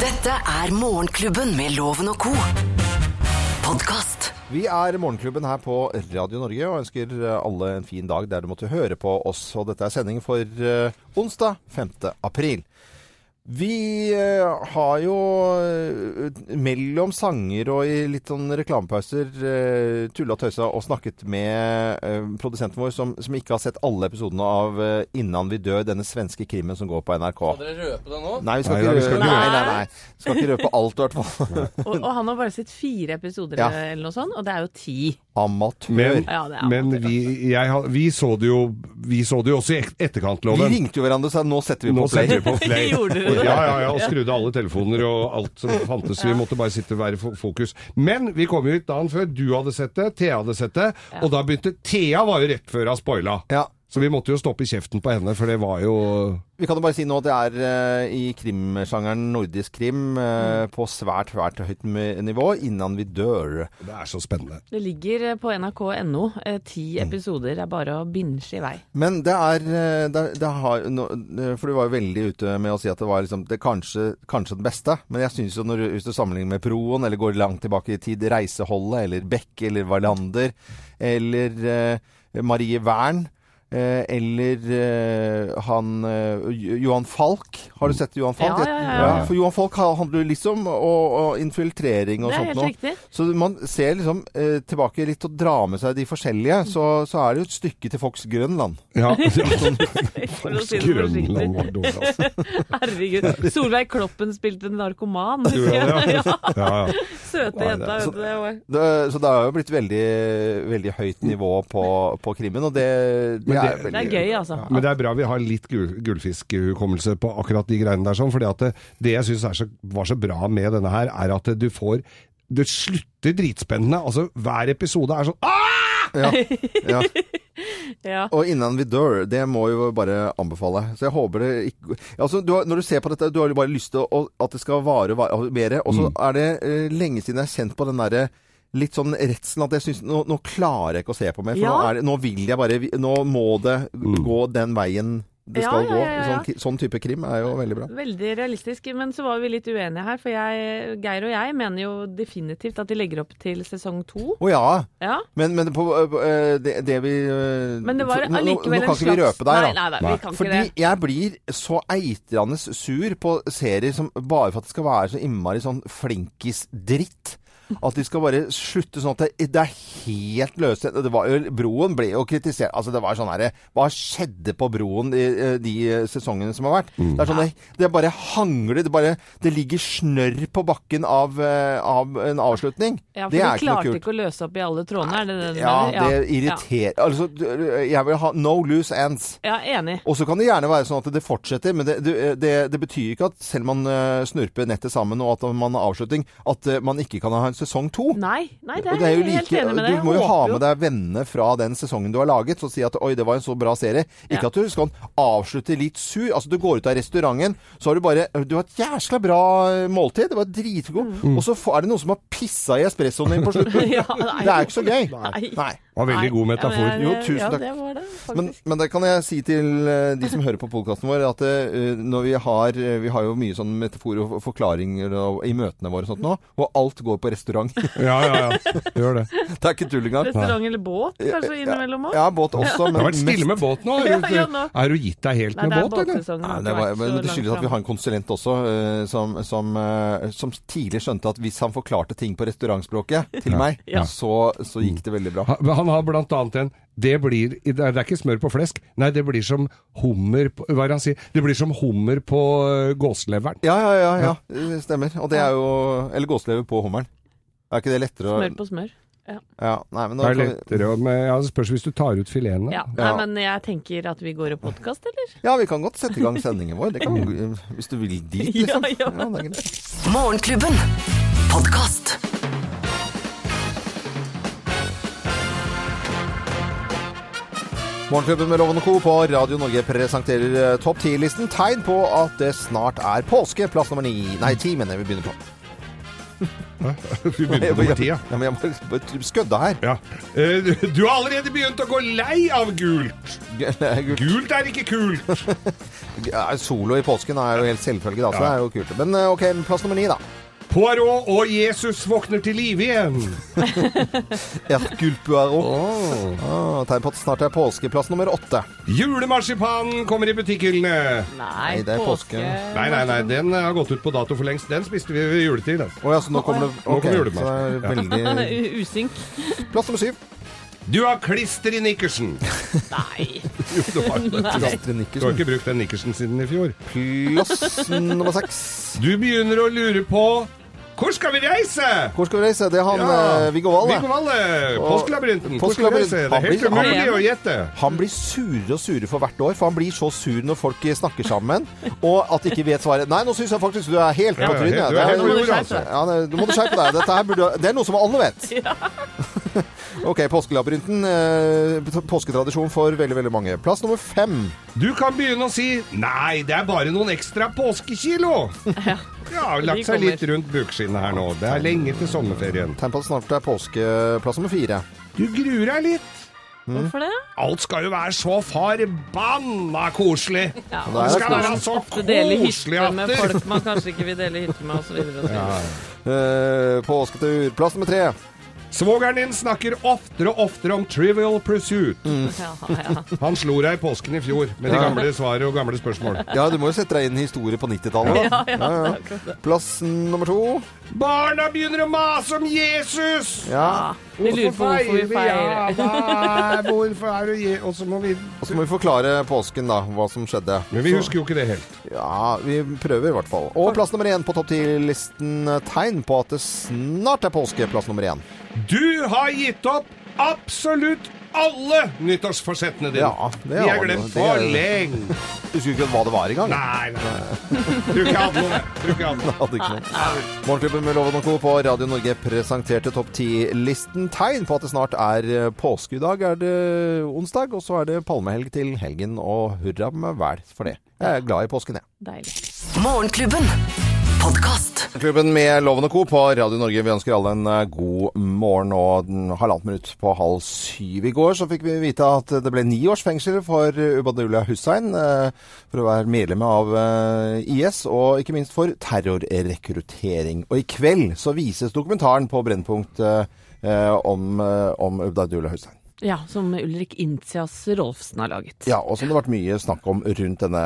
Dette er Morgenklubben med Loven og Co. Podkast. Vi er Morgenklubben her på Radio Norge og ønsker eh, alle en fin dag der du måtte høre på oss. Og dette er sending for eh, onsdag 5. april. Vi eh, har jo eh, mellom sanger og i litt sånn reklamepauser eh, tulla og tøysa og snakket med eh, produsenten vår som, som ikke har sett alle episodene av eh, 'Innan vi dør', denne svenske krimmen som går på NRK. Skal dere røpe det nå? Nei, vi skal, ikke, Nei, da, vi skal røpe, ikke nei, nei, røpe. nei. Skal ikke røpe alt, i hvert fall. Og, og han har bare sett fire episoder Ja. eller noe sånt, og det er jo ti. Amatør. Men, Ja, det er men amatør, vi, jeg, har- vi, så det jo, vi så det jo også i ek- Vi etterkantloven. ringte jo hverandre og sa nå setter vi Nå på play. setter vi på play. Gjorde dere det? Ja, ja, ja, og skrudde alle telefoner og alt som fantes. Vi måtte bare sitte og være fo- fokus. Men vi kom jo hit dagen før. Du hadde sett det, Thea hadde sett det, og da begynte Thea var jo rett før hun spoila. Ja. Så vi måtte jo stoppe kjeften på henne, for det var jo Vi kan jo bare si nå at det er eh, i krimsjangeren nordisk krim eh, på svært, svært høyt mi- nivå innan vi dør. Det er så spennende. Det ligger eh, på nrk.no. eh, Ti Mm. episoder er bare å binge i vei. Men det er, eh, det, er- det har, nå- eh, For du var jo veldig ute med å si at det var liksom, det er kanskje, kanskje det beste. Men jeg syns jo når du, hvis du sammenligner med Proen, eller går langt tilbake i tid, Reiseholdet, eller Beck, eller Wallander, eller eh, Marie Wern eh, eller eh, han eh, Jo- Johan Falk. Har du sett Johan Falk? Ja, ja, ja. For Johan Falk ha- handler jo liksom om om infiltrering og Det er sånt helt noe. riktig. Så man ser liksom eh, tilbake litt og dra med seg de forskjellige, så, så er det jo et stykke til folks Grønland. Ja, sånn For å si det Grønland forsiktig. var dårlig, altså. Herregud. Solveig Kloppen spilte en narkoman. Ja, ja. Ja, ja. Søte jenta, vet du. det var- Det, så det har jo blitt veldig, veldig høyt nivå på, på krimmen, og det, det, Men er det- Det veldig er gøy, altså. Men det er bra vi har litt gull- gullfiskhukommelse på akkurat de greiene der, sånn, fordi at det, det jeg syns var så bra med denne her, er at du får Det slutter dritspennende. Altså, hver episode er sånn «Ah!» Ja. Ja. Og 'Innan vi dør', det må jo bare anbefale. Så jeg håper det ikke Altså, du har, når du ser på dette, du har jo bare lyst til å, at det skal vare og vare mer. Og så er det eh, lenge siden jeg har kjent på den derre litt sånn redselen at jeg syns nå, nå klarer jeg ikke å se på mer. For nå, Ja. er det, nå vil jeg bare Nå må det gå den veien det Ja, skal ja, ja, ja. gå. Sånn, ki- sånn type krim er jo veldig bra. Veldig realistisk, men så var vi litt uenige her. For jeg, Geir og jeg mener jo definitivt at de legger opp til sesong to. Å ja. Ja. Men, men på, øh, øh, det, det vi øh, Men det var for- nå- nå- allikevel en Nå kan slags ikke vi røpe deg, da. Nei, nei, nei, vi kan ikke Fordi det. jeg blir så eitrende sur på serier som bare for at det skal være så innmari sånn flinkis-dritt. At de skal bare slutte sånn at det, det er helt løse det var jo, Broen ble jo kritisert Altså, det var sånn herre Hva skjedde på Broen de, de sesongene som har vært? Det er sånn det, det bare hangler. Det, bare, det ligger snørr på bakken av, eh, av en avslutning. Ja, for det er de ikke noe klarte kult. ikke å løse opp i alle trådene, er det det du Ja, mener? det irriterer Altså, du- jeg vil ha no loose ends. Ja, ja enig. Og så kan det gjerne være sånn at det fortsetter, men det, det, det, det betyr ikke at selv om man eh, snurper nettet sammen og at man har avslutning, at eh, man ikke kan ha en sesong to. Nei, nei, det Og er, det er jo jeg helt like- enig med deg. Du må jo Jeg ha håper med deg vennene fra den sesongen du har laget, og si at 'oi, det var en så bra serie'. Ikke Ja. at du skal avslutte litt sur. Altså, du går ut av restauranten, så har du bare 'Du har et jæskla bra eh, måltid, det var dritgod', og så får- er det noen som har pissa i espressoen din på slutten. Ja, Mm. nei. Det er ikke så gøy. Nei. Nei. Det var veldig god metafor. Ja, men jeg- Jo, tusen takk. Ja, det var det, faktisk. Men, men det kan jeg si til eh, de som hører på podkasten vår, at eh, når vi har eh, Vi har jo mye sånn metaforer og forklaringer og, i møtene våre og sånt nå, og alt går på restaurant. det Ja, ja, ja. Gjør det. Det er ikke tull engang. Restaurant eller båt, kanskje innimellom òg? Ja, båt også, men har vært stille med båt nå. Har Ja, ja, du, nå. har du gitt deg helt Nei, med det er altså. båt, eller? båtsesongen. Ja, har det, ikke var, vært men så det skyldes langt at vi frem. har en konsulent også, eh, som, som, eh, som tidlig skjønte at hvis han forklarte ting på restaurantspråket til meg, Ja. så, så gikk det veldig bra. Mm. Ha- men Han har blant annet en det, blir, det er ikke smør på flesk, nei, det blir som hummer på, Hva er det han sier? Det blir som hummer på øh, gåseleveren. Ja, ja, ja. ja, eh, Stemmer. Og det er jo Eller gåselever på hummeren. Er ikke det lettere å Smør på smør. Ja, nei, men da Det er kan vi- lettere å men eh, ja, Det spørs hvis du tar ut filetene. Ja. Ja. Nei, men jeg tenker at vi går i podkast, eller? Ja, vi kan godt sette i gang sendingen vår. Det kan, vi- hvis du vil dit, liksom. Ja, ja. det er greit. Morgenklubben. Podkast. Morgenklubben med Loven og Co. på Radio Norge presenterer eh, topp 10-listen. Tegn på at det snart er påske. Plass nummer ni. Nei, ti, mener jeg vi begynner på. Vi begynner på nummer ti, ja. Ja, men jeg må bare skødde her. ja. Eh, Du du har allerede begynt å gå lei av gult. Gult er ikke kult. Ja, Solo i påsken er jo helt selvfølge, da, så Ja. det er jo kult. Men eh, ok, plass nummer ni, da. Poirot og Jesus våkner til live igjen. Hercule Poirot. Ah, tegn på at snart er påske. Plass nummer åtte. Julemarsipanen kommer i butikkhyllene. Nei, Nei, det er påske. Nei, nei, nei, den har gått ut på dato for lengst. Den spiste vi ved juletid. den. Å ja, så nå kommer det Nå Ok, kommer så er julemarsipan. det veldig U- Usynk. Plass nummer syv. Du har klister i nikkersen. Nei. Jo, du har, du har Astrid Nikkelsen. ikke brukt den nikkersen siden i fjor. Plass nummer seks. Du begynner å lure på Hvor skal vi reise? Hvor skal vi reise? Det er han Ja. eh, Viggo Wahl. Viggo det. Valle, Påskelabyrinten. Hvor skal vi Påskelabyrinten. reise? Det er helt Han blir- umulig å gjette. Han blir surere og surere for hvert år, for han blir så sur når folk snakker sammen, og at de ikke vet svaret. Nei, nå syns jeg faktisk du er helt på Ja, ja, trynet. helt- du Det er er- helt på jordet, altså. Ja, det- du må du skjerpe deg. Dette her burde, det er noe som alle vet. ok, Påskelabyrinten. eh, Påsketradisjon for veldig, veldig mange. Plass nummer fem. Du kan begynne å si 'Nei, det er bare noen ekstra påskekilo'. Ja, vi har lagt De seg kommer. litt rundt bukskinnet her nå. Det er lenge til sommerferien. Tegn på at snart er påske. Plass nummer fire. Du gruer deg litt. Mm. Hvorfor det? Alt skal jo være så forbanna koselig. Ja, det er man koselig. kan Så ofte dele koselig hytte at med det- folk man kanskje ikke vil dele hytte med, osv. Eh, påsketur. Plass nummer tre. Svogeren din snakker oftere og oftere om trivial pursuit. Ja, ja. Han slo deg i påsken i fjor med de gamle svarene og gamle spørsmål. Ja, du må jo sette deg inn i historie på 90-tallet. da. Ja, ja. Plass nummer to. Barna begynner å mase om Jesus! Ja. Vi lurer på hvorfor vi Ja, feirer. hva er- hvorfor er det je... Og så må vi Og så må vi forklare påsken, da. Hva som skjedde. Men vi husker jo ikke det helt. Ja, vi prøver i hvert fall. Og plass nummer én på topp ti-listen. eh, Tegn på at det snart er påske. Plass nummer én. Du har gitt opp absolutt alle nyttårsforsettene dine. Ja, det de har er du. glemt Det er- for lenge. Husker ikke hva det var engang. Nei, nei. Tror ikke jeg hadde noe. Tror ikke jeg hadde noe. Hadde ikke noe. Morgenklubben med Loven og Co. på Radio Norge presenterte topp ti-listen. Tegn på at det snart er eh, påske. I dag er det onsdag, og så er det palmehelg til helgen. Og hurra meg vel for det. Jeg er glad i påsken, jeg. Deilig. Morgenklubben. Podkast. Klubben med Loven og Co. på Radio Norge. Vi ønsker alle en eh, god morgen. Og den halvannet minutt på halv syv i går så fikk vi vite at det ble ni års fengsel for Ubadullah Hussein eh, for å være medlem av eh, IS, og ikke minst for terrorrekruttering. Og i kveld så vises dokumentaren på Brennpunkt eh, eh, om, eh, om Ubadullah Hussein. Ja, som Ulrik Intias Rolfsen har laget. Ja, og som det har vært mye snakk om rundt denne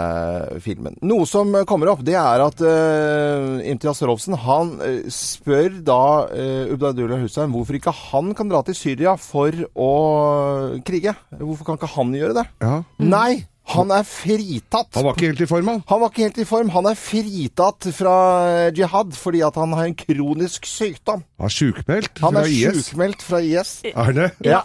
filmen. Noe som eh, kommer opp, det er at uh, Imtiaz Rolfsen han eh, spør da uh, Ubdadullah Hussein hvorfor ikke han kan dra til Syria for å krige. Hvorfor kan ikke han gjøre det? Ja. Nei, han er fritatt! Mm. Han var ikke helt i form, han. Han var ikke helt i form. Han er fritatt fra jihad fordi at han har en kronisk sykdom. Han er sjukmeldt Han fra er IS. sjukmeldt fra IS. Er det? Ja.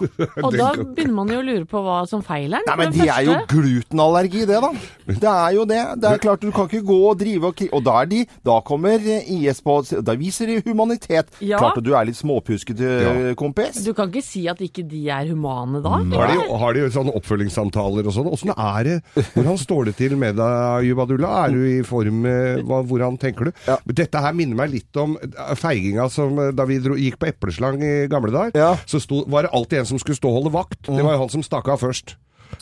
Og da begynner man jo å lure på hva som feiler den. Nei, men for det det er jo første. glutenallergi, det, da. Det er jo det. Det er klart, du kan ikke gå og drive og kri- Og da er de Da kommer IS på Da viser de humanitet. Ja. Klart at du er litt småpuskete, Ja. kompis. Du kan ikke si at ikke de er humane da? Har de, har de sånne oppfølgingssamtaler og sånn? Åssen er det? Hvordan står det til med deg, Jubadullah? Er du i form? eh, Hva, hvordan tenker du? Dette her minner meg litt om eh, feiginga som eh, da vi dro, gikk på epleslang i gamle dager. Ja. Så sto, var det alltid en som skulle stå og holde vakt. Det var jo han som stakk av først.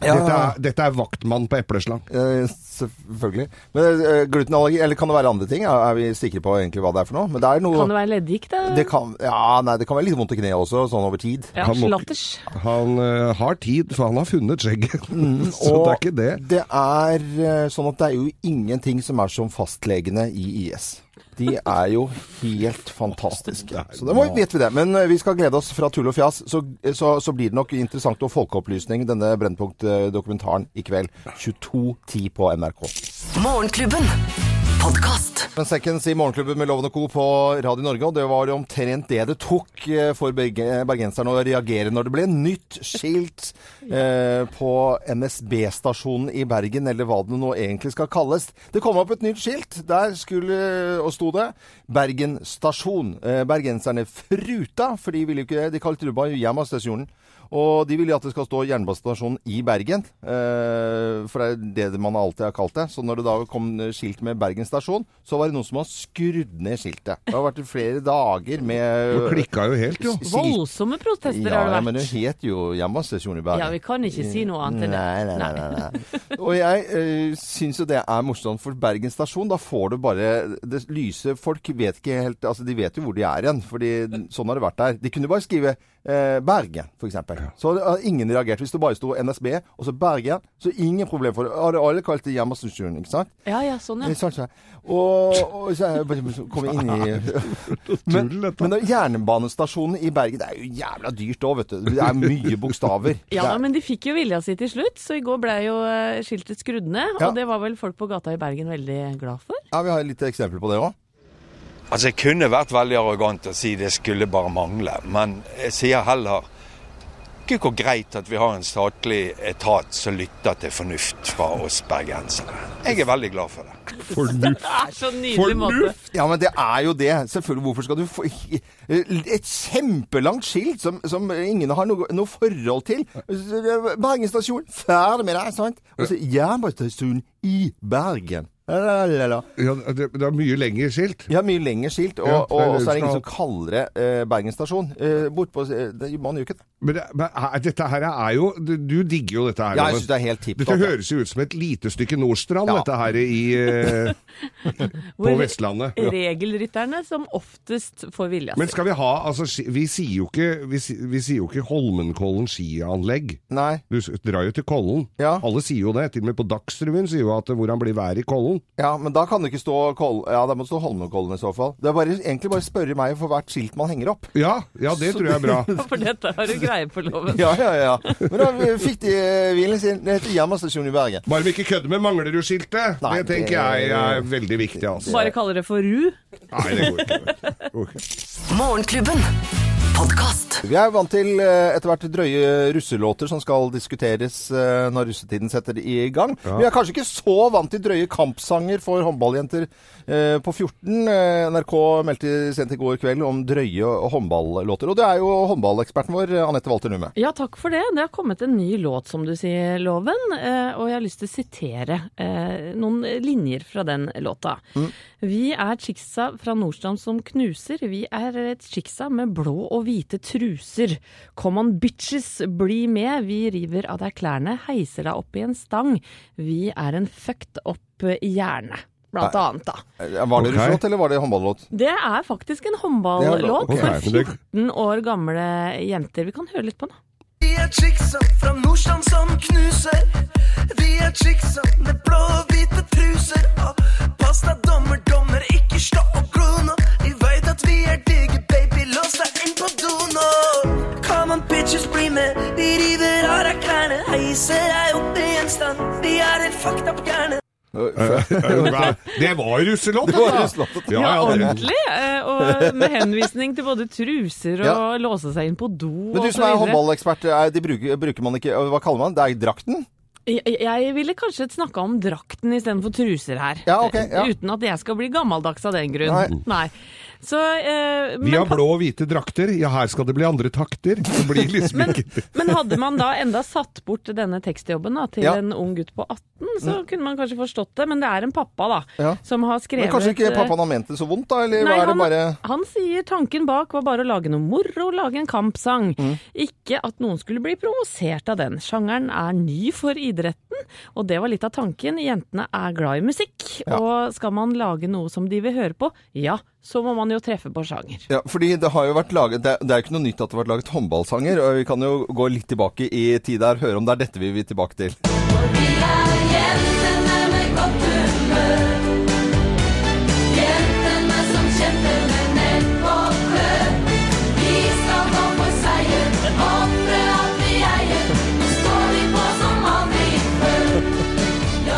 Ja. Dette, er, dette er vaktmann på epleslang. Eh, selvfølgelig. Men eh, glutenallergi Eller kan det være andre ting? Er er vi sikre på egentlig hva det er for noe? Men det er noe Kan det være leddgikt? da? det kan, ja, nei, det kan være litt vondt i kneet også, sånn over tid. Ja, Han må- slatters. Han eh, har tid, for han har funnet skjegget. Mm. Så det er ikke det. det er eh, sånn at det er jo ingenting som er som fastlegene i IS. De er jo helt fantastiske. Så det må, vet vi det. Men eh, vi skal glede oss fra tull og fjas. Så, så, så blir det nok interessant og folkeopplysning, denne Brennpunkt-dokumentaren i kveld. 22.10 på NRK. Morgenklubben. Podkast. Men Seconds i Morgenklubben med Loven og Co. på Radio Norge, og det var jo omtrent det det tok eh, for berge- bergenserne å reagere når det ble nytt skilt eh, på NSB-stasjonen i Bergen, eller hva det nå egentlig skal kalles. Det kom opp et nytt skilt. Der skulle, og sto det, Eh, Bergen stasjon. Eh, bergenserne fruta, for de ville jo ikke det. De kalte det bare Hjemmastasjonen. Og de vil at det skal stå jernbanestasjon i Bergen, eh, for det er det man alltid har kalt det. Så når det da kom skilt med Bergen stasjon, så var det noen som har skrudd ned skiltet. Det har vært flere dager Du med klikka jo helt, jo. skilt. Voldsomme protester Ja, har ja, det men det vært. het jo jernbanestasjon i Bergen. Ja, vi kan ikke si noe annet enn det. Nei, nei, nei. nei, nei. Og jeg uh, syns jo det er morsomt, for Bergen stasjon, da får du bare det lyse Folk vet ikke helt Altså, de vet jo hvor de er igjen, fordi sånn har det vært der. De kunne bare skrive eh, Bergen, f.eks. Så hadde hadde ingen reagert. Hvis det bare sto NSB og så Bergen, så ingen problem for det. Hadde alle kalt det jernbanestasjon, ikke sant? Ja, ja, sånn ja. Ikke sant, så jeg- Og, og så er jeg- så kom jeg inn i Men, Men det- jernbanestasjonen i Bergen, det er jo jævla dyrt òg, vet du. Det er mye bokstaver. Ja, Det da, er- men de fikk jo vilja si til slutt, så i går ble jo eh, skiltet skrudd ned. Ja. Og det var vel folk på gata i Bergen veldig glad for. ja, vi har litt eksempler på det òg. Altså, jeg kunne vært veldig arrogant og si det skulle bare mangle, men jeg sier heller ikke hvor greit at vi har en statlig etat som lytter til fornuft fra oss bergensere. Jeg er veldig glad for det. Det er så nydelig måte. Fornuft! Ja, men det er jo det. Selvfølgelig. Hvorfor skal du få Et kjempelangt skilt som, som ingen har noe, noe forhold til. Bergen stasjon, ferdig med deg, sant? Og så jernbanestasjonen i Bergen. La, la, la. Ja, det, det er mye lengre skilt. De har mye lengre skilt, og, Ja, og, og så er det skal- ingen som kaller det eh, Bergen stasjon. Eh, bortpå eh, det, Man gjør ikke det. Men, det, men er- dette her er jo Du, du digger jo dette her. Ja, jeg Loven. synes det er helt tipp Dette topp, ja. høres jo ut som et lite stykke Nordstrand, Ja. dette her i, eh, på Hvor Vestlandet. Regelrytterne som oftest får vilja Men si. skal vi ha altså, ski- Vi sier jo ikke, vi, si- vi sier jo ikke Holmenkollen skianlegg. Nei. Du s- drar jo til Kollen. Ja. Alle sier jo det. Til og med på Dagsrevyen sier jo at eh, hvordan blir været i Kollen. Ja, men da kan det ikke stå Kol Ja, det må stå Holmenkollen i så fall. Det er bare, egentlig bare å spørre meg for hvert skilt man henger opp. Ja, ja det tror jeg er bra. For dette har du greie på, loven. Ja, ja, ja. Men da fikk de eh, hvilen sin. Det heter jernbanestasjonen i Bergen. Bare vi ikke kødder med Manglerud-skiltet! Nei, Det tenker det- jeg er veldig viktig, altså. Bare kaller det for ru. Nei, det går ikke. Det går ikke. Morgenklubben. Podkast. Vi er vant til eh, etter hvert drøye russelåter som skal diskuteres eh, når russetiden setter i gang. Vi er kanskje ikke så vant til drøye kampsanger for håndballjenter eh, på 14. Eh, NRK meldte sent i går kveld om drøye håndballåter. Og det er jo håndballeksperten vår, eh, Anette Walter Numme. Ja, takk for det. Det har kommet en ny låt, som du sier, Loven. eh, Og jeg har lyst til å sitere eh, noen linjer fra den låta. Vi er chicksa fra Nordstrand som knuser. Vi er et chicksa med blå og hvite truser. Come on bitches, bli med. Vi river av deg klærne, heiser deg opp i en stang. Vi er en fucked up hjerne. Blant annet, da. Eh, Var det Ok. russelåt, eller var det håndballåt? Det er faktisk en Det er lov. håndballåt Ok, for men det- 14 år gamle jenter. Vi kan høre litt på den. Vi er chicksa fra Nordstrand som knuser. Vi er chicksa med blå og hvite truser. Og pass deg, dommer, dommer, ikke slå opp glo nå. Vi veit at vi er digge, baby, lås deg inn på do nå. Come on, bitches, bli med. Vi river av deg klærne, heiser deg opp i en stand. Vi er en fucked up hjerne. Det var jo russelåt, Det var altså. russelåt. Ja, Ja, ja, det- ordentlig. eh, Og med henvisning til både truser og Ja. låse seg inn på do Men du og så som er videre. håndballekspert, er- de bruker, bruker man ikke eh, Hva kaller man det? Det er drakten? Jeg, jeg ville kanskje snakka om drakten istedenfor truser her. Ja, ok, ja. Uten at jeg skal bli gammeldags av den grunn. Nei. Så, eh, Vi men, har blå og hvite drakter. Ja, her skal det bli andre takter. Det blir liksom ikke men hadde man da enda satt bort denne tekstjobben da, til Ja. Mm. en ung gutt på 18, så kunne man kanskje forstått det. Men det er en pappa da, Ja. som har skrevet Men kanskje ikke eh, pappaen har ment det så vondt, da? Eller Nei, er det han, bare han sier tanken bak var bare å lage noe moro, lage en kampsang. Mm. Ikke at noen skulle bli provosert av den. Sjangeren er ny for idretten, og det var litt av tanken. Jentene er glad i musikk, og skal man lage noe som de vil høre på, ja, så må man jo treffe på sjanger. Ja, fordi det har jo vært laget Det er- det er jo ikke noe nytt at det har vært laget håndballsanger. Og vi kan jo gå litt tilbake i tid der, høre om det er dette vi vil tilbake til. Vi er jentene med godt humør. Jentene som kjemper med nebb og klør. Vi skal gå for seier, ofre alt vi eier. Nå står vi på som aldri før.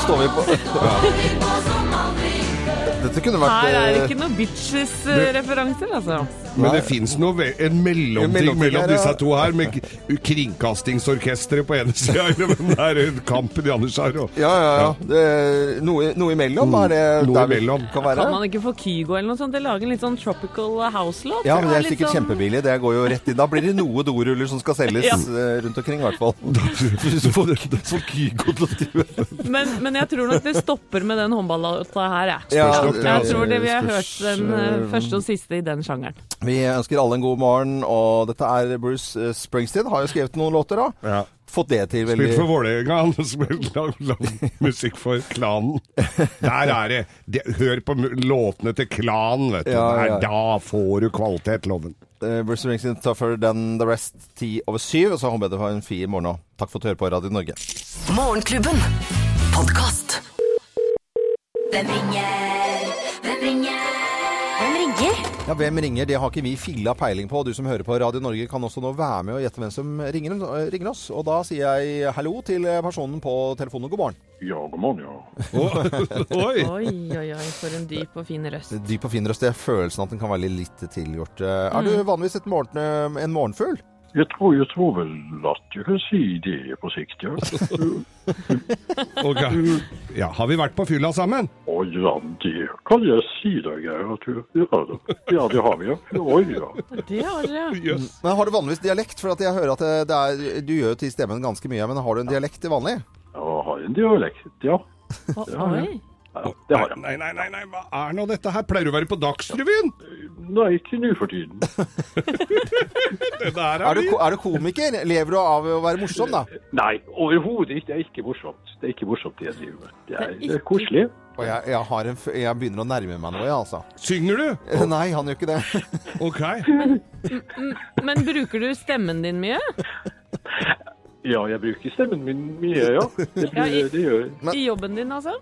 Står vi på Står vi på som aldri før. Dette kunne vært Her er det eh, ikke noen bitches-referanser, altså. Men det fins noe ve- en En mellomting mellomting mellom her, ja. disse to her, med k- kringkastingsorkesteret på ene sida og den der kampen de andre har. Og Ja, ja, ja. Det, noe, Mm. noe imellom er det Noe der vi imellom. kan være. Kan man ikke få Kygo eller noe sånt til å lage en litt sånn tropical house-låt? Ja, som men det er litt sikkert sånn- kjempebillig. Det går jo rett inn. Da blir det noe doruller som skal selges Ja. eh, rundt omkring, i hvert fall. Hvis du får- får Kygo til å drive. Men, men jeg tror nok det stopper med den håndballåta her, jeg. Ja, nok det, Jeg tror det vi har hørt spørs, den eh, eh, første og siste i den sjangeren. Vi ønsker alle en god morgen, og dette er Bruce eh, Springsteen. Har jo skrevet noen låter, da. Ja. Fått det til veldig Spilt for Vålerenga, han spilte lag, lag, musikk for Klanen. Der er det! det hør på mu- låtene til Klanen, vet du. Ja, Der, ja. da får du kvalitet, loven. Eh, Bruce Springsteen tougher than the rest, ti over syv. Og så håper jeg du har en fin morgen òg. Takk for at du hører på Radio Norge. Morgenklubben. Podkast. Hvem ringer? Hvem ringer? Hvem ringer? Ja, Hvem ringer? Det har ikke vi filla peiling på. Du som hører på Radio Norge kan også nå være med og gjette hvem som ringer, eh, ringer oss. Og da sier jeg hallo til eh, personen på telefonen. God morgen. Ja, god morgen, ja. Oi! Oi, oi, oi, for en dyp og fin røst. Dyp og fin røst. Det er følelsen at den kan være litt tilgjort. Eh, Er du vanligvis et morgen, eh, en morgenfugl? Jeg tror, jeg tror vel at jeg kan si det på sikt, ja. Ok. Ja, har vi vært på fylla sammen? Å ja, det kan jeg si deg, Geir, at du ja, da. ja, det har vi, ja. Oi, ja. Det har dere, ja. Jøss. Men Har du vanligvis dialekt? For at jeg hører at eh, det, det er, Du gjør jo til stemmen ganske mye, men har du en dialekt til vanlig? Jeg har en dialekt, ja. Å, Oi. ja det har jeg. Nei, nei, nei, nei, hva er nå dette her? Pleier du å være på Dagsrevyen? Nei, ikke nå for tiden. Det der Er er du, vi. ko- er du komiker? Lever du av å være morsom, da? Nei, overhodet ikke. Det er ikke morsomt. Det er ikke morsomt, det jeg driver med. Det er, det er koselig. Og jeg, jeg, har en, f- jeg begynner å nærme meg noe, jeg, altså. Synger du? Nei, han gjør ikke det. Ok. Men bruker du stemmen din mye? Ja, jeg bruker stemmen min mye, ja. Det, blir, det gjør jeg. I jobben din, altså?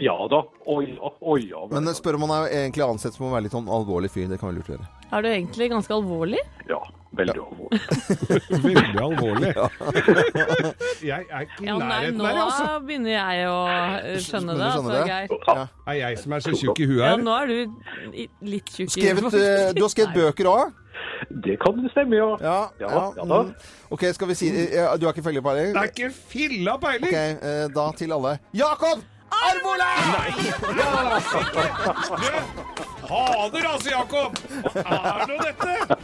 Ja da. Oi, ja. Oi, ja. Men eh, spør om han er egentlig ansett som å være litt sånn alvorlig fyr. Det kan vi lurt gjøre. Er du egentlig ganske alvorlig? Ja, veldig alvorlig. Veldig alvorlig. Jeg er ikke i Ja, nei, nærheten nå der, altså. begynner jeg å eh, skjønne Skjønner det, du altså, skjønner Geir. Ja. Er jeg som er så tjukk i huet Ja, her? nå er du i- litt tjukk i Skrevet, eh, du har skrevet bøker òg? Det kan stemme, ja. Ja. ja, ja da. mm. OK, skal vi si eh, Du har ikke følgepeiling? Det er ikke filla Ok, peiling! eh, da til alle. Jakob! Hader altså, Jakob! Hva er nå dette?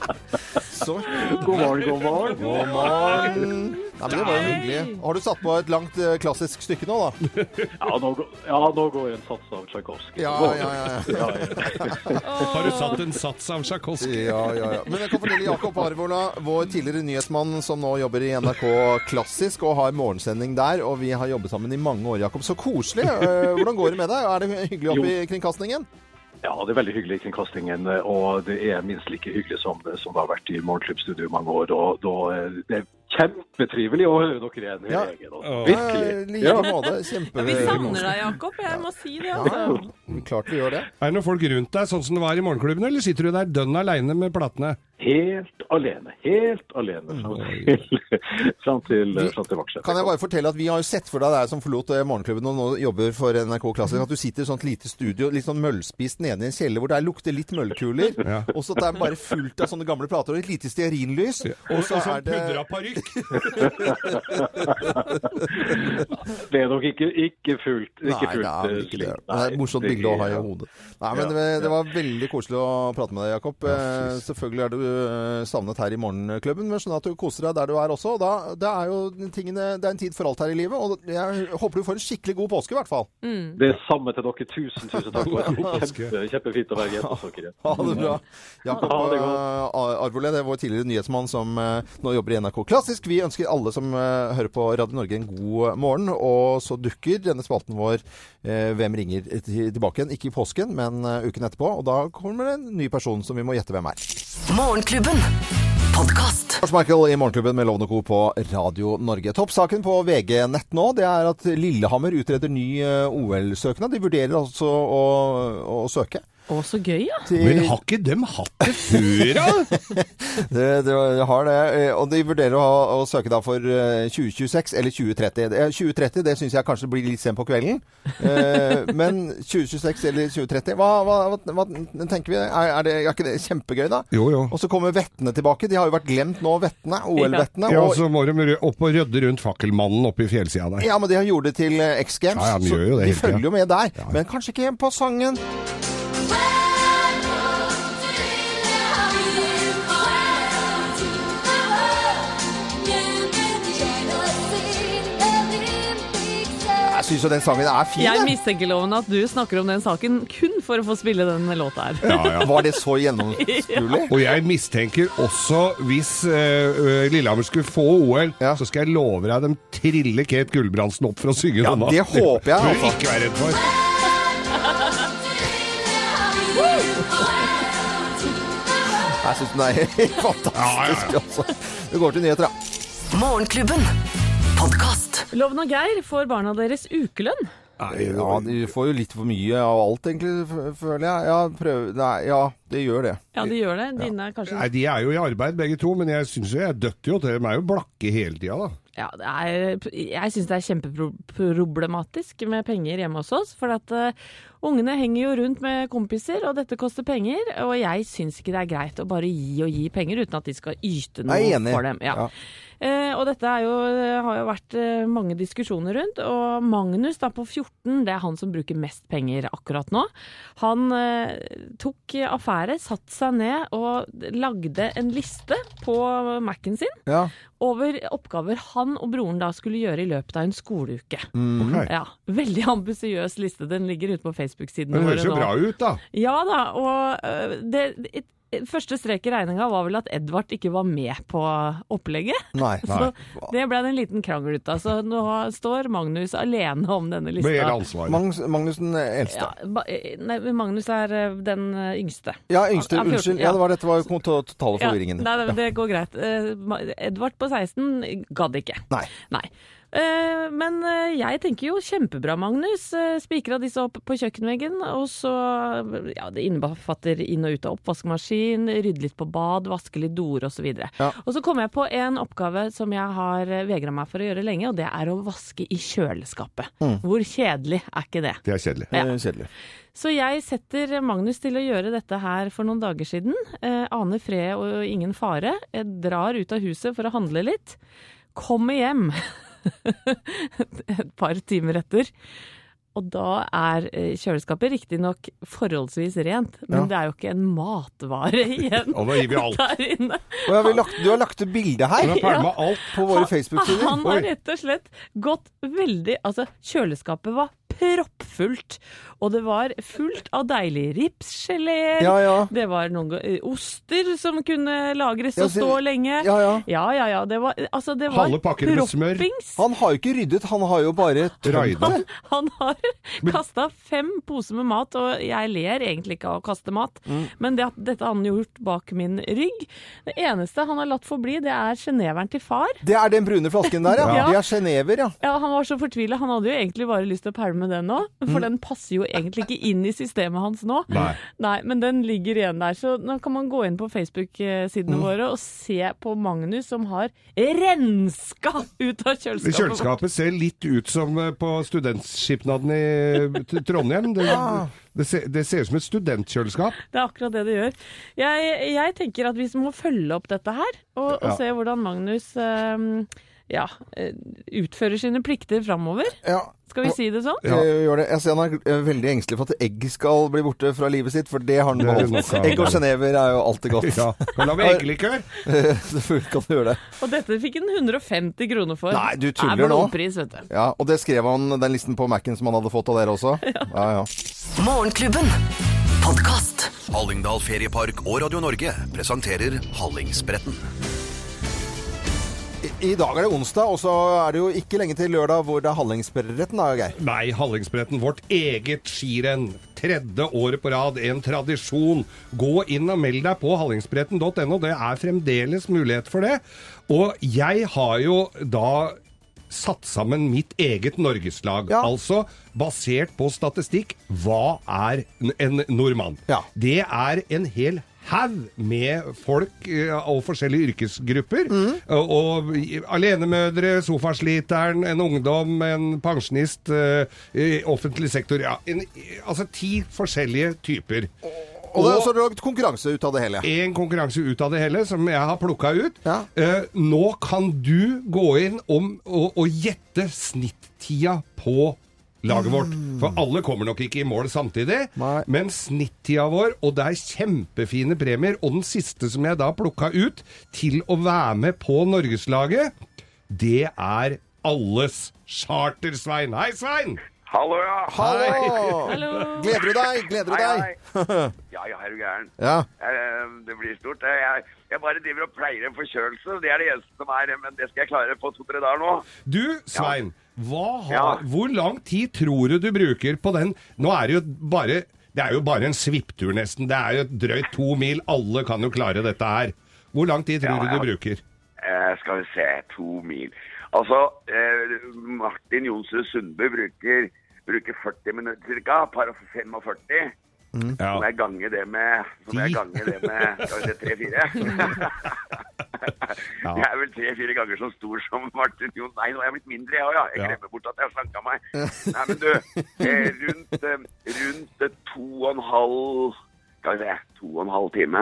Så God morgen, god morgen. God morgen. Nei, men det var jo hyggelig. Har du satt på et langt eh, klassisk stykke nå, da? Ja, nå, går- ja, nå går en sats av Tsjajkovskij. Ja, ja, ja. ja. Ja, ja. Har du satt en sats av Tsjajkovskij? Ja, ja, ja. Men jeg kan fortelle Jakob Arvola, vår tidligere nyhetsmann som nå jobber i NRK Klassisk og har morgensending der, og vi har jobbet sammen i mange år, Jakob. Så koselig. Eh, Hvordan går det med deg? Er det hyggelig oppe i kringkastingen? ja, det er veldig hyggelig i kringkastingen, og det er minst like hyggelig som, som det har vært i Morgenklubbstudio i mange år. Og, da, eh, det er kjempetrivelig å høre dere igjen. Ja. hele gjengen, altså. Åh. Eh, Virkelig. like Ja. måte. Ja, Kjempe... vi savner deg, Jakob. Jeg må si det. Altså. eh, Ja, klart vi gjør det. Er det noen folk rundt deg, sånn som det var i morgenklubben, eller sitter du der dønn aleine med platene? Helt alene. Helt alene fram til, fram til, fram til Vaksnes. Kan jeg bare fortelle at Vi har jo sett for deg deg som forlot eh, morgenklubben og nå jobber for NRK Klassisk, at du sitter i et sånt lite studio, litt sånn møllspist nede i en kjeller hvor det er lukter litt møllkuler, Ja. og så at det er bare fullt av sånne gamle plater og et lite stearinlys, og så er det pudra parykk. Det er nok ikke, ikke fullt. Ikke Nei, fullt eh, det er vel ikke det. Det er et morsomt det- bilde å ha i hodet. Nei, men Ja, det, det ja. var veldig koselig å prate med deg, Jakob. Eh, Selvfølgelig er du eh, savnet her i Morgenklubben, men skjønner at du koser deg der du er også. Og Da, det er jo tingene, det er en tid for alt her i livet, og jeg håper du får en skikkelig god påske i hvert fall. Det er samme til dere. Tusen, tusen takk. for God det. påske. Kjempe, kjempefint å være gjest hos dere. Ha det bra. Jakob Ha det godt. eh, Arvole, det er vår tidligere nyhetsmann som eh, nå jobber i NRK Klassisk. Vi ønsker alle som eh, hører på Radio Norge en god eh, morgen. Og så dukker denne spalten vår eh, Hvem ringer til- tilbake igjen. Ikke i påsken, men eh, uken etterpå. Og da kommer det en ny person som vi må gjette hvem er. Morgenklubben. Podkast. Lars Michael i Morgenklubben med Lovende Co. på Radio Norge. Toppsaken på VG-nett nå det er at Lillehammer utreder ny eh, OL-søknad. De vurderer altså å, å søke. Å, så gøy, ja. Men har ikke dem hatt det før, da? Det, det har det, eh, og de vurderer å, ha, å søke da for eh, 2026 eller 2030. Eh, 2030 det syns jeg kanskje blir litt sent på kvelden. Eh, Men 2026 eller 2030, hva, hva, hva, hva tenker vi? Er, er, det, er ikke det kjempegøy, da? Jo, jo. Og så kommer vettene tilbake. De har jo vært glemt nå, vettene. OL-vettene. Ja, og- og så må de rø- opp og rydde rundt fakkelmannen oppe i fjellsida der. Ja, men de har gjort det til eh, X Games, Ja, ja, de så gjør jo det de hele tiden. følger jo med der. Ja. Men kanskje ikke på sangen. Jeg syns jo den sangen er fin. Jeg jeg. mistenker loven at du snakker om den saken kun for å få spille den låta her. Ja, ja. Var det så gjennomskuelig? Og jeg mistenker også hvis eh, ø, Lillehammer skulle få OL, Ja. så skal jeg love deg de triller Kate Gulbrandsen opp for å synge Ja, denne. det håper jeg, Tror altså. ikke være redd for. Jeg syns den er helt fantastisk, altså. Vi går til nyheter, da. Morgenklubben. Podkast. Loven og Geir får barna deres ukelønn. Ja, de får jo litt for mye av alt, egentlig, f- føler jeg. Ja, prøv, nei, ja det gjør det. Ja, de gjør det. Dine er kanskje Nei, De er jo i arbeid begge to, men jeg syns jo jeg døtter jo til dem. De er jo blakke hele tida, da. Ja, det er, jeg syns det er kjempeproblematisk med penger hjemme hos oss. For at eh, ungene henger jo rundt med kompiser, og dette koster penger. Og jeg syns ikke det er greit å bare gi og gi penger uten at de skal yte noe Jeg er enig. for dem. Ja. Ja. Eh, og dette er jo, har jo vært eh, mange diskusjoner rundt. Og Magnus da på 14, det er han som bruker mest penger akkurat nå. Han eh, tok affære, satte seg ned og lagde en liste på Mac-en sin Ja. over oppgaver han og broren da skulle gjøre i løpet av en skoleuke. Mm. Mm. Ok. Ja, Veldig ambisiøs liste. Den ligger ute på Facebook-siden Men det høres jo bra ut, da. Ja da, og øh, det, det, første strek i regninga var vel at Edvard ikke var med på opplegget. Nei. nei. Så det ble det en liten krangel ut av. Så nå står Magnus alene om denne lista. Med hele ansvaret. Magnus, Magnussen eh, eldste. Ja, ba, nei, Magnus er øh, den øh, yngste. Ja, yngste. Ja, 14, Unnskyld. ja. Ja, det var, dette var jo to- totale Ja, forvirringen. Nei, nei, det går greit. Eh, Ma- Edvard på 16 gadd ikke. Nei. Eh, Men eh, jeg tenker jo kjempebra, Magnus. Eh, Spikra disse opp på kjøkkenveggen. Og så Ja, det innbefatter inn og ut av oppvaskmaskin, rydde litt på bad, vaske litt doer osv. Ja. Og så kom jeg på en oppgave som jeg har vegra meg for å gjøre lenge, og det er å vaske i kjøleskapet. Hvor kjedelig er ikke det? Det er kjedelig. Eh, Kjedelig. Så jeg setter Magnus til å gjøre dette her for noen dager siden. Eh, aner fred og ingen fare. Jeg drar ut av huset for å handle litt. Kommer hjem et par timer etter. Og da er eh, kjøleskapet riktignok forholdsvis rent, men Ja. det er jo ikke en matvare igjen Og da gir vi alt. der inne. Og jeg vil lagt, du har lagt ut bilde Du her har pælma alt. på våre Han- Han Facebook-sider. har rett og slett gått veldig Altså, kjøleskapet var proppfullt. Og det var fullt av deilige ripsgeleer. Ja, ja. Det var noen ga- eh, oster som kunne lagres Ja, og så- stå lenge. Ja, ja. ja, ja. ja, det var, altså, det var Halve pakker med smør. proppings. Han har jo ikke ryddet, han har jo bare tømt Raida. det. Han har kasta fem poser med mat, og jeg ler egentlig ikke av å kaste mat, Mm. men det, at dette har han gjort bak min rygg. Det eneste han har latt forbli, det er sjeneveren til far. Det er den brune flasken der, ja. Ja. Det er sjenever, ja. Ja, Han var så fortvila. Han hadde jo egentlig bare lyst til å pælme den nå, Mm. for den passer jo egentlig ikke inn i systemet hans nå. Nei. Men den ligger igjen der. Så nå kan man gå inn på Facebook-sidene Mm. våre og se på Magnus som har renska ut av Det kjøleskapet. Kjøleskapet ser litt ut som eh, på studentskipnaden i eh, T- Trondheim. Det, Ah. det, ser, det ser ut som et studentkjøleskap. Det er akkurat det det gjør. Jeg, jeg tenker at vi må følge opp dette her, og, og Ja. se hvordan Magnus eh, ja, eh, utfører sine plikter framover. ja. Skal vi si det sånn? Ja. Gjør det. Jeg ser han er eh, veldig engstelig for at egg skal bli borte fra livet sitt, for det har han Det er valgt. nok av- Egg og sjenever er jo alltid godt. Ja. Kan lage eggelikør. Selvfølgelig kan du gjøre det. Og dette fikk han 150 kroner for. Nei, du tuller Det er nå. blodpris, vet du. Ja, Og det skrev han, den listen på Mac-en som han hadde fått av dere også? Ja, ja. Morgenklubben. Podkast. Hallingdal Feriepark og Radio Norge presenterer Hallingsbretten. I, I dag er det onsdag, og så er det jo ikke lenge til lørdag hvor det er Hallingsbretten, da, Geir. Nei, Hallingsbretten, vårt eget skirenn. Tredje året på rad, en tradisjon. Gå inn og meld deg på hallingsbretten.no, det er fremdeles mulighet for det. Og jeg har jo da satt sammen mitt eget norgeslag. Ja. Altså basert på statistikk hva er n- en nordmann? Ja. Det er en hel haug med folk eh, og forskjellige yrkesgrupper. Og, og i- alenemødre, sofasliteren, en ungdom, en pensjonist, eh, i offentlig sektor. Ja, en, altså ti forskjellige typer. Og det er også lagd konkurranse ut av det hele. En konkurranse ut av det hele, som jeg har plukka ut. Ja. Eh, nå kan du gå inn om, og, og gjette snittida på laget vårt. For alle kommer nok ikke i mål samtidig, Mm. Nei. men snittida vår, og det er kjempefine premier. Og den siste som jeg da plukka ut til å være med på norgeslaget, det er alles charter, Svein. Hei, Svein! Hallo, ja. Hallo! Hallo! Gleder du deg? Gleder du deg? Ja, ja, er du gæren. Ja. Eh, Det blir stort. Eh, Jeg, jeg bare driver og pleier en forkjølelse. Det er det eneste som er, eh, men det skal jeg klare på to-tre dager nå. Du, Svein, hva har, Ja. hvor lang tid tror du du bruker på den? Nå er det jo bare, det er jo bare en svipptur nesten. Det er jo drøyt to mil. Alle kan jo klare dette her. Hvor lang tid Ja, tror du du ja. bruker? Eh, Skal vi se, to mil. Altså, eh, Martin Jonsrud Sundby bruker, bruker 40 minutter ca., par og 45. Ja. Som jeg ganger det med Som jeg Ti. ganger det med Skal vi se, tre-fire? Ja. Jeg er vel tre-fire ganger så stor som Martin Jon. Nei, nå er jeg blitt mindre, jeg òg, ja. Jeg Ja. glemmer bort at jeg har slanka meg. Nei, men du, eh, rundt, eh, rundt eh, to og en halv Skal vi se, to og en halv time.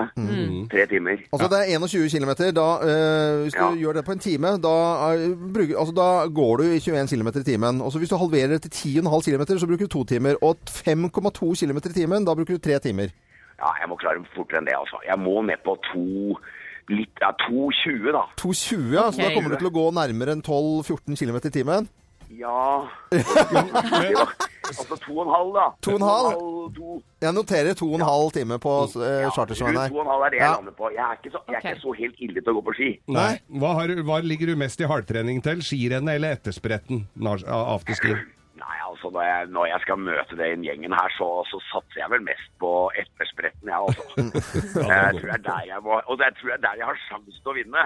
Tre timer. Altså det er 21 km. Da, eh, hvis du Ja. gjør det på en time, da, er, bruker, altså, da går du i 21 km i timen. Og så hvis du halverer det til 10,5 km, så bruker du to timer. Og 5,2 km i timen, da bruker du tre timer. Ja, jeg må klare fortere enn det, altså. Jeg må ned på to litt, ja, 2,20 da. 2,20, ja, så da kommer du til å gå nærmere enn 12-14 km i timen. Ja Altså to og en halv, da. To og en halv? to. Jeg noterer 2,5 time på eh, Ja, chartersveien rundt to og en her. halv er det jeg Ja. lander på. Jeg er ikke så, jeg er Ok. ikke så helt ille til å gå på ski. Nei. Hva, har, hva ligger du mest i hardtrening til? Skirennet eller etterspretten? Nar- Afterski? Nei, altså når jeg, når jeg skal møte den gjengen her, så, så satser jeg vel mest på etterspretten, jeg altså. Jeg tror det er der jeg må, og det tror jeg er der jeg har sjans til å vinne.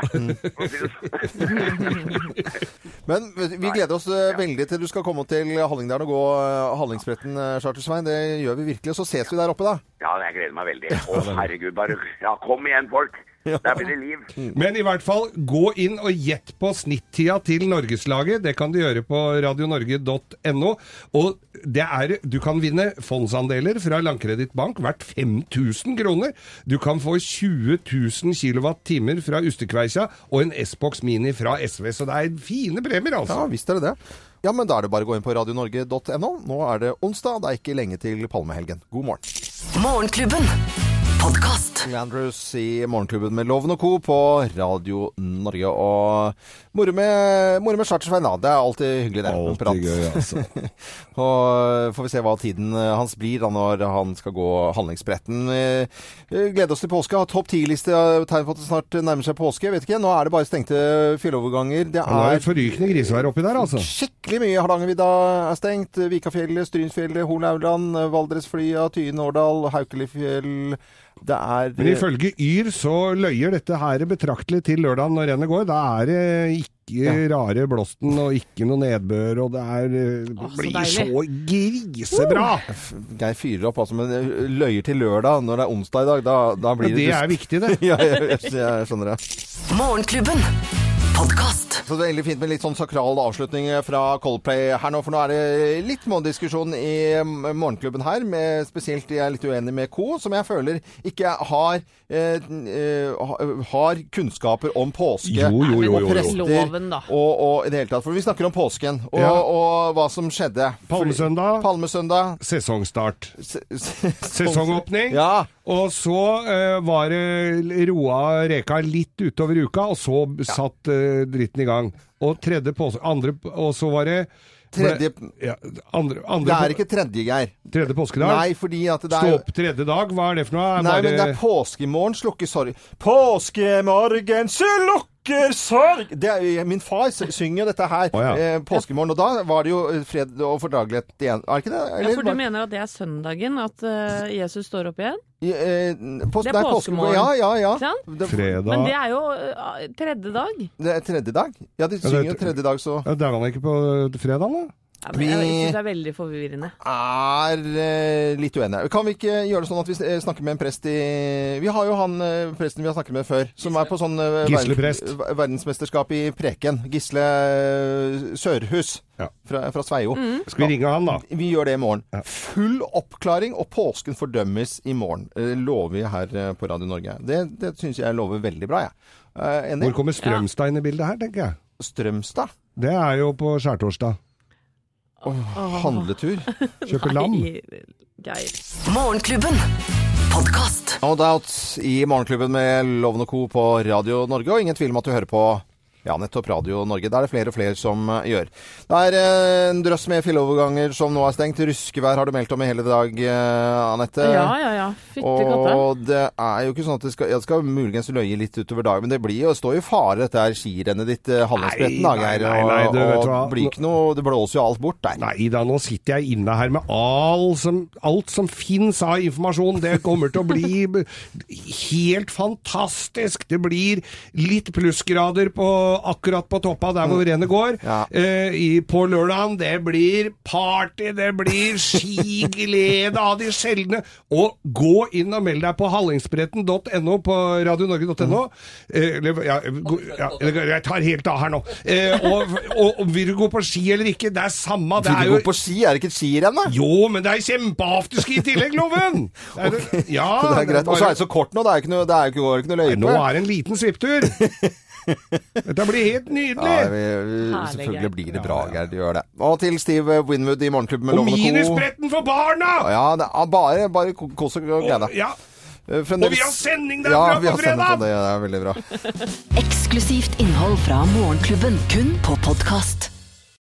For å si det sånn. Men vi gleder oss eh, veldig til du skal komme til Hallingdalen og gå eh, Hallingsbretten, eh, Chartersveien. Det gjør vi virkelig. Og så ses vi der oppe, da. Ja, jeg gleder meg veldig. Å herregud, bare Ja, kom igjen, folk. Der blir det liv. Men i hvert fall, gå inn og gjett på snittida til Norgeslaget. Det kan du gjøre på radionorge.no. Og det er, du kan vinne fondsandeler fra Landkredittbank verdt 5000 kroner. Du kan få 20 000 kWh fra Ustekveikja og en S-box Mini fra SV. Så det er fine premier, Ja, altså. visst er det det. Ja, men da er det bare å gå inn på radionorge.no. Nå er det onsdag, det er ikke lenge til palmehelgen. God morgen. Morgenklubben. Podkast. Landrews i Morgenklubben med Loven og Co. på Radio Norge. Og moro med, moro med Chartersveien, da. Det er alltid hyggelig, det. en prat. altså. Og får vi se hva tiden eh, hans blir da når han skal gå handlingsbretten. Eh, Gleder oss til påske. Har topp ti-liste. eh, Tegn på at det snart nærmer seg påske. Vet ikke. Nå er det bare stengte fjelloverganger. Det Nå er er det forrykende grisevær oppi der, altså. Skikkelig mye. Hardangervidda er stengt. Vikafjellet, Strynsfjellet, Hornauland, Valdresflya, Tyen, Årdal, Haukelifjell. Det er Men ifølge Yr så løyer dette her betraktelig til lørdagen når rennet går. Da er det ikke rare blåsten og ikke noe nedbør, og det er, det så blir deilig. så grisebra! Geir fyrer opp, altså, men løyer til lørdag når det er onsdag i dag. Da, da blir det er viktig, det. ja, jeg, jeg, jeg skjønner det. Morgenklubben. Podkast. Så det er Veldig fint med litt sånn sakral avslutning fra Coldplay her nå. For nå er det litt mer diskusjon i mm, morgenklubben her. Med, spesielt jeg er litt uenig med Co, som jeg føler ikke har, eh, eh, ha- har kunnskaper om påske. Jo, jo, jo, jo, jo. press- Loven, da. Og, og i det hele tatt. For vi snakker om påsken, og, Ja. og hva som skjedde. Palmesøndag. Palmesøndag. Sesongstart. se- se- Sesongåpning. Ja. Og så eh, var det roa reka litt utover uka, og så satt eh, dritten i gang. Og tredje pås... Andre Og så var det Tredje- ja, andre, Det andre, er ikke tredje, Geir. Tredje påskedag? Nei, fordi at det Stå er opp tredje dag, hva er det for noe? Er Nei, bare- men det er påskemorgen slukker sorry. Påskemorgen slukker vakker sorg! Det er, jo- min far s- synger dette her Å, ja. eh, påskemorgen, og da var det jo eh, fred og fordragelighet igjen. Er det ikke det? Ja, for du bare- mener at det er søndagen at eh, Jesus står opp igjen? I, eh, pås- Det det er er påskemorgen. påskemorgen. Ja, ja, ja. Ikke sant? Det, Men Fredag det er jo eh, tredje dag. det er tredje dag? Ja, de synger jo tredje dag, så Ja, Dauer han ikke på eh, fredag, da? Ja, men jeg Vi- synes det er veldig forvirrende. er eh, litt uenige. Kan vi ikke gjøre det sånn at vi eh, snakker med en prest i Vi har jo han eh, presten vi har snakket med før, som er på sånn eh, Gisle verden- prest. ver- verdensmesterskap i preken. Gisle eh, Sørhus Ja. fra, fra Sveio. Skal vi ringe han, da? Vi gjør det i morgen. Full oppklaring, og påsken fordømmes i morgen. Eh, lover vi her eh, på Radio Norge. Det, det syns jeg lover veldig bra, jeg. Eh, enig? Hvor kommer Strømstad inn i bildet her, tenker jeg? Strømstad? Det er jo på skjærtorsdag. Handletur? Kjøper lam. Nei, Geir. Morgenklubben. Podkast. No Doubt i Morgenklubben med Loven og Co. på Radio Norge, og ingen tvil om at du hører på ja, nettopp Radio Norge. Det er det flere og flere som eh, gjør. Det er eh, en drøss med fjelloverganger som nå er stengt. Ruskevær har du meldt om i hele dag, eh, Anette. Ja, ja, ja. Fytti katta. Og det er jo ikke sånn at det skal, ja, det skal muligens løye litt utover dagen, men det blir jo, står jo i fare dette her skirennet ditt, eh, Hallingsbretten, da, Nei, Geir. nei, nei, Og, du vet og hva. det blir ikke noe Det blåser jo alt bort der. Nei da, nå sitter jeg inne her med all som, alt som fins av informasjon. Det kommer til å bli b- helt fantastisk. Det blir litt plussgrader på, akkurat på toppa der hvor rennet går. Ja. Eh, i, på lørdagen, det blir party, det blir skiglede av de sjeldne. Og gå inn og meld deg på hallingsbretten.no på radionorge.no. Eh, eller, ja, gå- ja, eller, jeg tar helt av her nå. Eh, og, og, og vil du gå på ski eller ikke, det er samme. Det Vil er du jo gå på ski? Er det ikke et skirenn, da? jo, men det er kjempeafterski i tillegg, Loven! Det er, ja, Så det er greit. Og så bare- er det så kort nå, det er jo ikke noe, det er jo ikke, går ikke noe løype. Nå er det en liten svipptur! Dette blir helt nydelig! Ja, vi, vi, Herlig, selvfølgelig Geir. blir det bra, Geir. Det gjør det. Og til Steve Winwood i Morgenklubben med og Lovende Co. minusbretten for barna! Ja, det er bare, bare ko- kos og glede. Og, ja. Eh, fremdeles- og vi har sending der ja, fra vi har på sending på fredag! det. Det er veldig bra. Eksklusivt innhold fra Morgenklubben, kun på podkast.